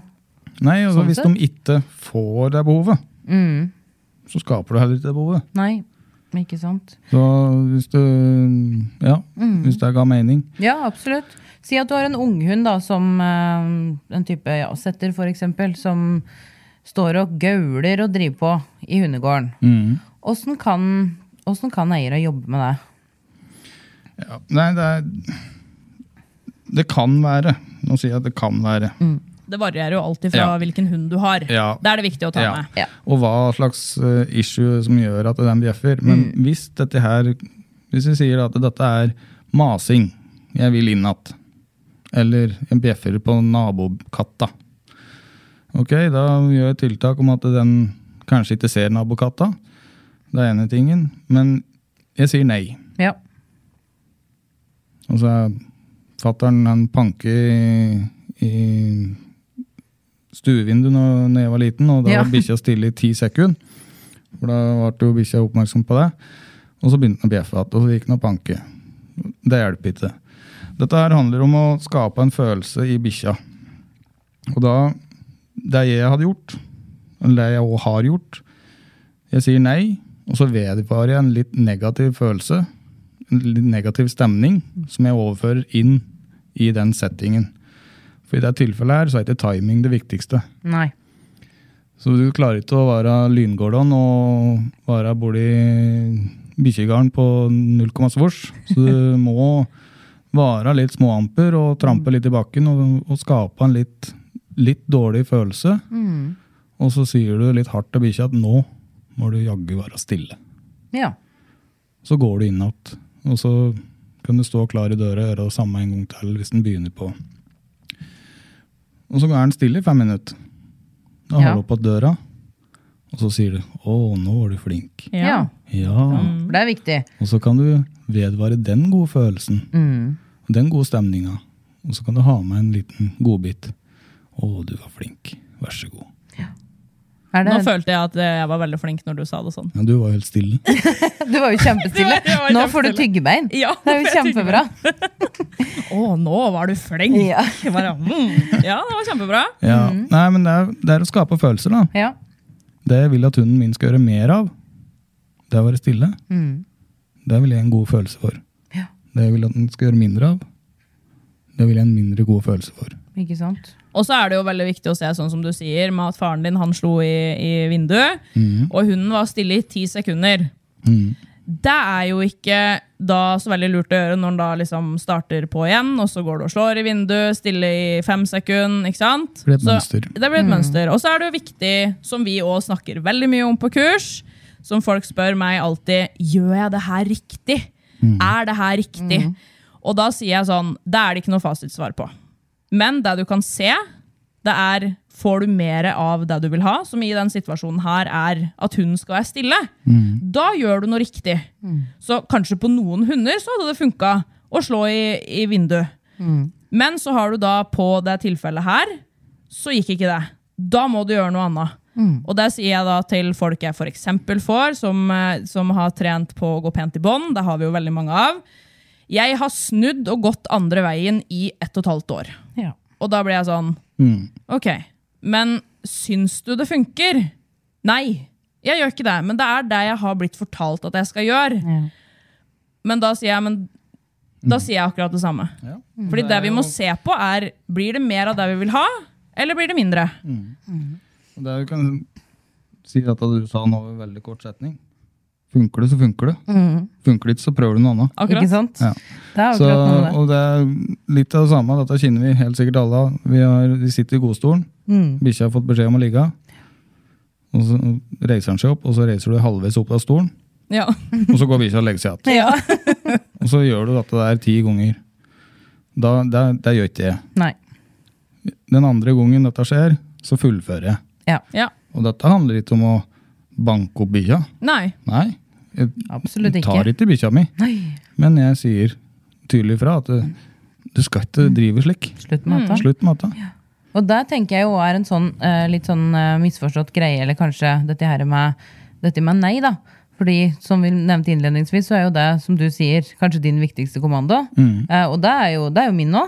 Speaker 1: Nei, altså,
Speaker 2: Sånn
Speaker 1: hvis
Speaker 2: sett.
Speaker 1: de ikke får det behovet, så skaper du heller ikke det behovet.
Speaker 2: Mm. Nei, ikke sant?
Speaker 1: Så hvis du Ja,
Speaker 2: Mm.
Speaker 1: hvis det ga mening.
Speaker 2: Ja, absolutt. Si at du har en unghund da, som eh, en type ja, setter, for eksempel, som, står og gauler og driver på i hundegården. Åssen kan, hvordan kan eiere jobbe med det?
Speaker 1: Ja, nei, det er Det kan være. Nå sier jeg at det kan være.
Speaker 4: Det varierer jo alltid fra
Speaker 1: Ja.
Speaker 4: hvilken hund du har.
Speaker 1: Ja.
Speaker 4: Det er det viktig å ta
Speaker 1: Ja.
Speaker 4: med.
Speaker 2: Ja.
Speaker 1: Og hva slags eh, issue som gjør at den bjeffer. Men hvis dette her Hvis vi sier at dette er masing, jeg vil inn att, eller en bjeffer på nabokatta Ok, da gjør jeg tiltak om at den kanskje ikke ser nabokatta. Det er ene tingen. Men jeg sier nei.
Speaker 2: Ja.
Speaker 1: Og så er fatteren han panker i, i stuevinduet når, når jeg var liten, og da
Speaker 2: Ja.
Speaker 1: var bikkja stille i ti sekunder. For da ble jo bikkja oppmerksom på det. Og så begynte den å bjeffe igjen, og så gikk den og panke. Det hjelper ikke. Dette her handler om å skape en følelse i bikkja. Og da Det jeg hadde gjort, eller det jeg òg har gjort Jeg sier nei, og så vedvarer jeg en litt negativ følelse en litt negativ stemning som jeg overfører inn i den settingen. For i det tilfellet her så er ikke timing det viktigste.
Speaker 2: Nei.
Speaker 1: Så du klarer ikke å være lyngårdon og være borti bikkjegarden på null komma svors. Så du må være litt småamper og trampe litt i bakken og, og skape en litt, litt dårlig følelse. Og så sier du litt hardt til bikkja at nå må du jaggu være stille.
Speaker 2: Ja.
Speaker 1: Så går du inn igjen. Og så kan du stå klar i døra og gjøre det samme en gang til hvis den begynner på. Og så er den stille i fem minutter. Da
Speaker 2: Ja.
Speaker 1: holder du opp på døra, og så sier du 'Å, nå var du flink'.
Speaker 2: ja.
Speaker 1: Ja.
Speaker 4: Mm.
Speaker 2: For det er viktig.
Speaker 1: Og så kan du vedvare den gode følelsen.
Speaker 2: Mm.
Speaker 1: Og den gode stemninga. Og så kan du ha med en liten godbit. 'Å, du var flink. Vær så god'.
Speaker 2: Er
Speaker 4: Nå
Speaker 2: det,
Speaker 4: følte jeg at eh, jeg var veldig flink når du sa det sånn.
Speaker 1: Ja, du var helt stille.
Speaker 2: du var jo kjempestille.
Speaker 4: Det var- det var
Speaker 2: Nå får du
Speaker 4: kjempestille.
Speaker 2: tyggebein.
Speaker 4: Ja,
Speaker 2: det er jo
Speaker 4: nå får jeg
Speaker 2: kjempebra.
Speaker 4: Å, nå var du flink!
Speaker 2: Ja.
Speaker 4: Jeg bare, mm. ja, det var kjempebra.
Speaker 1: Ja. Nei, men det er, det er å skape følelser, da.
Speaker 2: Ja.
Speaker 1: Det jeg vil at hunden min skal gjøre mer av, det er å være stille.
Speaker 2: Mm.
Speaker 1: Det vil jeg en god følelse for.
Speaker 2: Ja.
Speaker 1: Det jeg vil at den skal gjøre mindre av, det vil jeg en mindre god følelse for.
Speaker 2: Ikke sant?
Speaker 4: Og så er det jo veldig viktig å se sånn som du sier, med at faren din han slo i, i vinduet,
Speaker 1: Mhm.
Speaker 4: og hunden var stille i ti sekunder.
Speaker 1: Mm.
Speaker 4: Det er jo ikke da så veldig lurt å gjøre når den da liksom starter på igjen, og så går du og slår i vinduet, stille i fem sekunder, ikke sant?
Speaker 1: Det blir et
Speaker 4: så,
Speaker 1: mønster.
Speaker 4: Det blir et mønster. Og så er det jo viktig, som vi òg snakker veldig mye om på kurs, som folk spør meg alltid, gjør jeg det her riktig?
Speaker 1: Mm.
Speaker 4: Er det her riktig? Og da sier jeg sånn, det er det ikke noe fasitsvar på. Men det du kan se, det er Får du mer av det du vil ha, som i den situasjonen her er at hunden skal være stille, da gjør du noe riktig. Så kanskje på noen hunder så hadde det funka å slå i, i vinduet. Men så har du da på det tilfellet her, så gikk ikke det. Da må du gjøre noe annet. Og det sier jeg da til folk jeg f.eks. får, som, eh, som har trent på å gå pent i bånd. Det har vi jo veldig mange av. Jeg har snudd og gått andre veien i ett og et halvt år.
Speaker 2: Ja.
Speaker 4: Og da ble jeg sånn Ok, men syns du det funker? Nei, jeg gjør ikke det, men det er det jeg har blitt fortalt at jeg skal gjøre.
Speaker 2: Ja.
Speaker 4: Men da sier jeg men da sier jeg akkurat det samme.
Speaker 2: Mm.
Speaker 4: Fordi det vi må se på, er blir det mer av det vi vil ha, eller blir det mindre?
Speaker 1: Og det er jo kan si at du sa nå i veldig kort setning. Funker det, så funker det. Funker det ikke, så prøver du noe annet.
Speaker 2: Ikke
Speaker 4: Akkurat.
Speaker 2: sant?
Speaker 1: Ja.
Speaker 2: Det er
Speaker 1: Så,
Speaker 2: Mm. akkurat noe med det.
Speaker 1: og det er litt av det samme. Dette kjenner vi helt sikkert alle. av. Vi, har, vi sitter i godstolen.
Speaker 2: Mm.
Speaker 1: Bikkja har fått beskjed om å ligge. Og så reiser han seg opp, og så reiser du halvveis opp av stolen.
Speaker 4: Ja.
Speaker 1: Og så går bikkja og legger seg igjen.
Speaker 2: Ja.
Speaker 1: Og så gjør du dette der ti ganger. Da, det, det gjør ikke jeg.
Speaker 2: Nei.
Speaker 1: Den andre gangen dette skjer, så fullfører jeg.
Speaker 2: Ja,
Speaker 4: ja.
Speaker 1: Og dette handler ikke om å banke opp bikkja.
Speaker 4: Nei.
Speaker 1: Nei, jeg
Speaker 2: absolutt ikke.
Speaker 1: tar ikke bikkja mi.
Speaker 2: Nei,
Speaker 1: Men jeg sier tydelig fra at
Speaker 2: Mm.
Speaker 1: du, du skal ikke drive slik.
Speaker 2: slutt med dette.
Speaker 1: Slutt med dette.
Speaker 2: Og der tenker jeg jo er en sånn eh, litt sånn eh, misforstått greie, eller kanskje dette her med, dette med nei, da. Fordi som vi nevnte innledningsvis, så er jo det, som du sier, kanskje din viktigste kommando. Eh, og det er jo, det er jo min nå.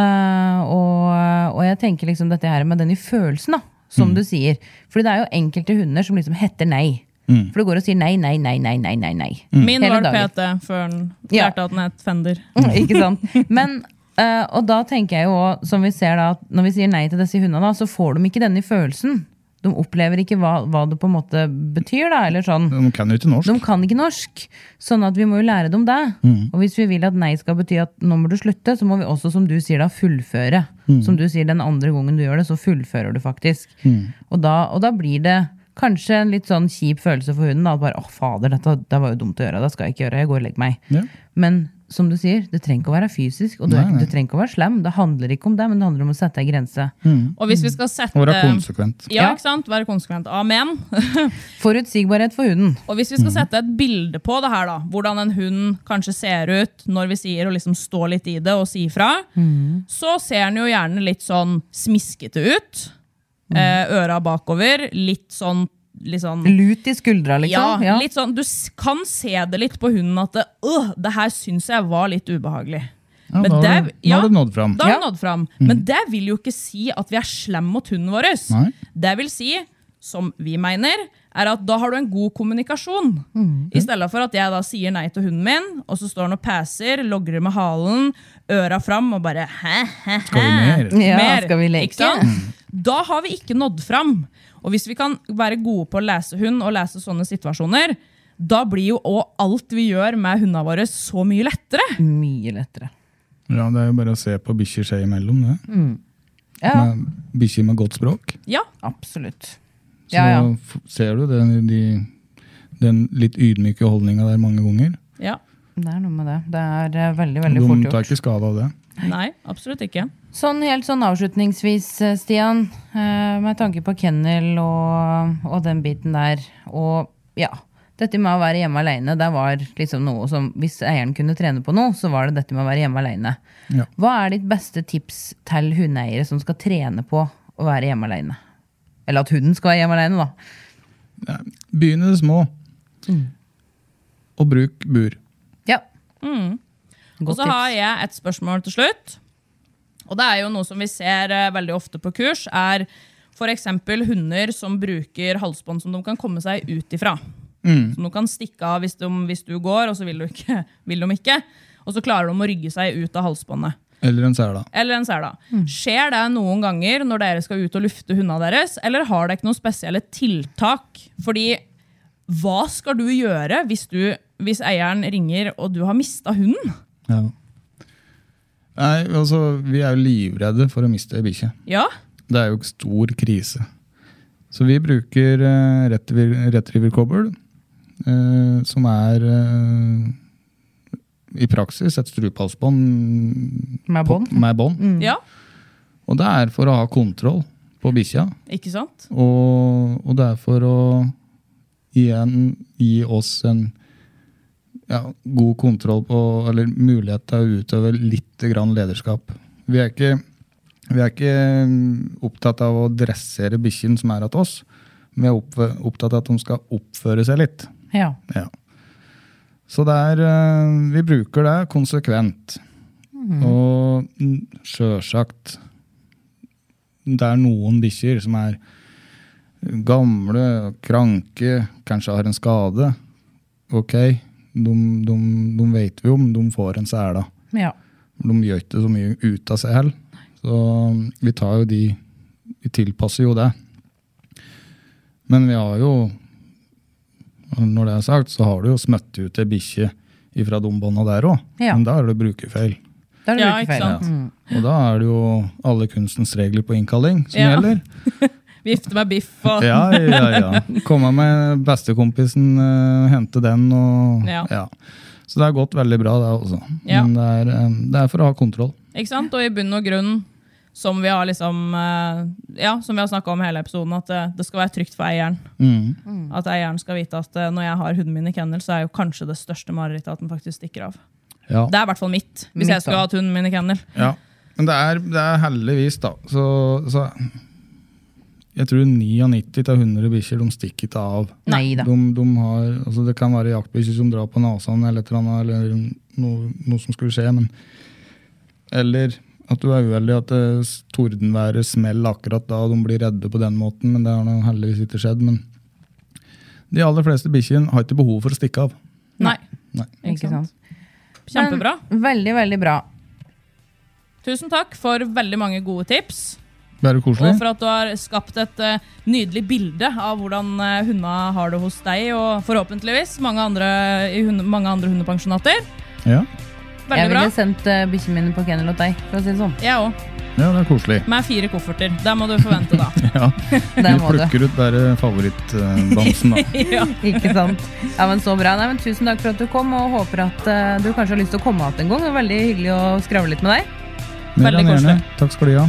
Speaker 2: Eh, og, og jeg tenker liksom dette her med den i følelsen, da, som du sier. Fordi det er jo enkelte hunder som liksom heter nei. For du går og sier nei, nei, nei, nei, nei, nei. nei.
Speaker 4: Min
Speaker 2: Hele
Speaker 4: var
Speaker 2: dagen.
Speaker 4: PT før den
Speaker 2: Ja.
Speaker 4: lærte at den het Fender.
Speaker 2: Ikke sant? Men, eh, og da tenker jeg jo også, som vi ser da, at når vi sier nei til disse hundene, da, så får de ikke denne følelsen. de opplever ikke hva, hva det på en måte betyr, da, eller sånn.
Speaker 1: De kan jo ikke norsk.
Speaker 2: De kan ikke norsk, sånn at vi må jo lære dem det.
Speaker 1: Mm.
Speaker 2: Og hvis vi vil at nei skal bety at nå må du slutte, så må vi også, som du sier, da, fullføre.
Speaker 1: Mm.
Speaker 2: Som du sier, den andre gangen du gjør det, så fullfører du faktisk.
Speaker 1: Mm.
Speaker 2: Og, da, og da blir det kanskje en litt sånn kjip følelse for hunden. Da, at bare, å fader, dette det var jo dumt å gjøre, det skal jeg ikke gjøre, jeg går og legger meg.
Speaker 1: Ja.
Speaker 2: Men som du sier, det trenger ikke å være fysisk, og du,
Speaker 1: Nei,
Speaker 2: er ikke-
Speaker 1: nei.
Speaker 2: du trenger ikke å være slem. Det handler ikke om det, men det handler om å sette ei grense.
Speaker 4: Og hvis vi skal sette
Speaker 1: Og være
Speaker 4: Ja,
Speaker 1: konsekvent.
Speaker 2: eh, Ja.
Speaker 4: ikke sant? Være konsekvent. Amen.
Speaker 2: Forutsigbarhet for hunden.
Speaker 4: Og hvis vi skal sette et bilde på det her, da, hvordan en hund kanskje ser ut når vi sier å liksom stå litt i det og si ifra, så ser den jo gjerne litt sånn smiskete ut. Eh, øra bakover. Litt sånn, litt sånn
Speaker 2: Lut i skuldra, liksom.
Speaker 4: ja, litt sånn, Du s- kan se det litt på hunden at det, «Åh, det her syns jeg var litt ubehagelig.
Speaker 1: Ja,
Speaker 4: Men
Speaker 1: da, har du,
Speaker 4: det- ja.
Speaker 1: da har du nådd fram. Mm.
Speaker 4: Da har
Speaker 2: Ja.
Speaker 4: vi nådd fram. Men det vil jo ikke si at vi er slem mot hunden vår.
Speaker 1: Nei.
Speaker 4: Det vil si, som vi mener, er at da har du en god kommunikasjon.
Speaker 1: Mm.
Speaker 4: I stedet for at jeg da sier nei til hunden min, og så står han og passer, logrer med halen, øra fram og bare hæ, hæ,
Speaker 1: Skal vi mer?
Speaker 2: Ja,
Speaker 4: mer.
Speaker 2: skal vi leke? Mm.
Speaker 4: Ikke sant? Da har vi ikke nådd fram. Og hvis vi kan være gode på å lese hund og lese sånne situasjoner, da blir jo også alt vi gjør med hundene våre, så mye lettere.
Speaker 2: Mye lettere.
Speaker 1: Ja, det er jo bare å se på bikkjer seg imellom, det.
Speaker 2: Mm. Ja,
Speaker 1: Med Bikkjer med godt språk.
Speaker 4: Ja,
Speaker 2: absolutt.
Speaker 1: Så
Speaker 2: Ja, ja.
Speaker 1: f- ser du den, de, den litt ydmyke holdninga der mange ganger.
Speaker 4: ja.
Speaker 2: Det er noe med det. Det er eh, veldig, veldig
Speaker 1: De
Speaker 2: fort
Speaker 1: tar
Speaker 2: gjort.
Speaker 1: ikke skade av det.
Speaker 4: Nei, absolutt ikke.
Speaker 2: Sånn helt sånn avslutningsvis, eh, Stian, eh, med tanke på kennel og, og den biten der, og ja, dette med å være hjemme alene, det var liksom noe som, hvis eieren kunne trene på noe, så var det dette med å være hjemme alene.
Speaker 1: Ja.
Speaker 2: Hva er ditt beste tips til hundeeiere som skal trene på å være hjemme alene? Eller at hunden skal være hjemme alene, da.
Speaker 1: Begynn i det små.
Speaker 2: Mm.
Speaker 1: Og bruk bur.
Speaker 2: Ja.
Speaker 4: Mm. Og
Speaker 2: Godt
Speaker 4: så har
Speaker 2: tips.
Speaker 4: jeg et spørsmål til slutt. Og det er jo noe som vi ser eh, veldig ofte på kurs, er f.eks. hunder som bruker halsbånd som de kan komme seg ut ifra.
Speaker 2: Mm.
Speaker 4: Som de kan stikke av hvis, de, hvis du går, og så vil, du ikke, vil de ikke. Og så klarer de å rygge seg ut av halsbåndet.
Speaker 1: Eller en sela.
Speaker 4: Eller en sela.
Speaker 2: Mm.
Speaker 4: Skjer det noen ganger når dere skal ut og lufte hundene deres, eller har dere ikke noen spesielle tiltak? Fordi hva skal du gjøre hvis, du, hvis eieren ringer og du har mista hunden?
Speaker 1: Ja. Nei, altså, vi er jo livredde for å miste ei bikkje.
Speaker 4: Ja?
Speaker 1: Det er jo stor krise. Så vi bruker eh, retriever- retriever-kobbel, eh, som er eh, i praksis et strupehalsbånd
Speaker 2: Med
Speaker 1: på-
Speaker 2: bånd. Mm.
Speaker 1: med bånd.
Speaker 4: Ja?
Speaker 1: Og det er for å ha kontroll på bikkja,
Speaker 4: Ikke sant?
Speaker 1: og, og det er for å igjen gi oss en ja, god kontroll på, eller mulighet til å utøve litt grann lederskap. Vi er ikke, vi er ikke mm, opptatt av å dressere bikkjen som er hos oss, vi er oppf- opptatt av at de skal oppføre seg litt.
Speaker 2: Ja.
Speaker 1: Ja. Så det er eh, Vi bruker det konsekvent. Og mm, sjølsagt Det er noen bikkjer som er gamle, kranke, kanskje har en skade. Ok, de, de, de vet vi om. De får en sele.
Speaker 2: ja.
Speaker 1: De gjør ikke så mye ut av seg heller. Så um, vi tar jo de Vi tilpasser jo det. Men vi har jo Når det er sagt, så har du jo smøtt ut ei bikkje ifra de bånda der òg.
Speaker 2: Ja.
Speaker 1: Men da er det brukerfeil.
Speaker 2: Da er det
Speaker 4: Ja, ikke
Speaker 2: lukefeil.
Speaker 4: sant?
Speaker 1: Og da er det jo alle kunstens regler på innkalling som
Speaker 4: Ja.
Speaker 1: gjelder.
Speaker 4: Vifte med biff og
Speaker 1: Ja, ja, ja. Komme med bestekompisen, eh, hente den og
Speaker 4: Ja.
Speaker 1: ja. Så det har gått veldig bra, det også.
Speaker 4: Ja.
Speaker 1: Men det er, eh, det er for å ha kontroll.
Speaker 4: Ikke sant? Og i bunn og grunn, som vi har liksom eh, Ja, som vi har snakka om i hele episoden, at eh, det, det skal være trygt for eieren.
Speaker 1: Mm.
Speaker 4: At eieren skal vite at eh, når jeg har hunden min i kennel, så er jo kanskje det største marerittet at den faktisk stikker av.
Speaker 1: Ja.
Speaker 4: Det er i hvert fall mitt, hvis
Speaker 2: Mitt
Speaker 4: jeg skulle
Speaker 2: da.
Speaker 4: hatt hunden min i kennel.
Speaker 1: Ja, men det er, det er heldigvis, da. Så, så jeg tror 99 av 100 bikkjer de stikker ikke av.
Speaker 2: Nei da.
Speaker 1: De, de har, altså det kan være jaktbikkjer som drar på nesen eller, et eller, annet, eller noe, noe som skulle skje. Men, eller at du er uheldig at eh, s- tordenværet smeller akkurat da, og de blir redde på den måten. Men det har nå heldigvis ikke skjedd. Men de aller fleste bikkjene har ikke behov for å stikke av.
Speaker 4: Nei.
Speaker 1: Nei.
Speaker 2: Ikke sant?
Speaker 4: Kjempebra.
Speaker 2: Men Veldig, veldig bra.
Speaker 4: Tusen takk for veldig mange gode tips.
Speaker 1: Bare koselig.
Speaker 4: Og for at du har skapt et eh, nydelig bilde av hvordan uh, hundene har det hos deg, og forhåpentligvis mange andre, i hunde, mange andre hundepensjonater.
Speaker 1: Ja.
Speaker 2: Jeg
Speaker 4: Veldig bra.
Speaker 2: ville sendt uh, bikkjene mine på kennel hos deg, for å si det sånn.
Speaker 4: Jeg òg.
Speaker 1: ja, det er koselig.
Speaker 4: Med fire kofferter. Det må du forvente, da.
Speaker 1: Ja. Vi
Speaker 2: Der må du.
Speaker 1: plukker ut bare favorittbamsen, da.
Speaker 4: ja.
Speaker 2: Ikke sant? Ja, men så bra. Nei, men tusen takk for at du kom, og håper at eh, du kanskje har lyst til å komme igjen en gang. Det var veldig hyggelig å skravle litt med deg.
Speaker 1: Mer
Speaker 4: Veldig
Speaker 1: enn gjerne.
Speaker 4: koselig.
Speaker 1: Takk skal du ha.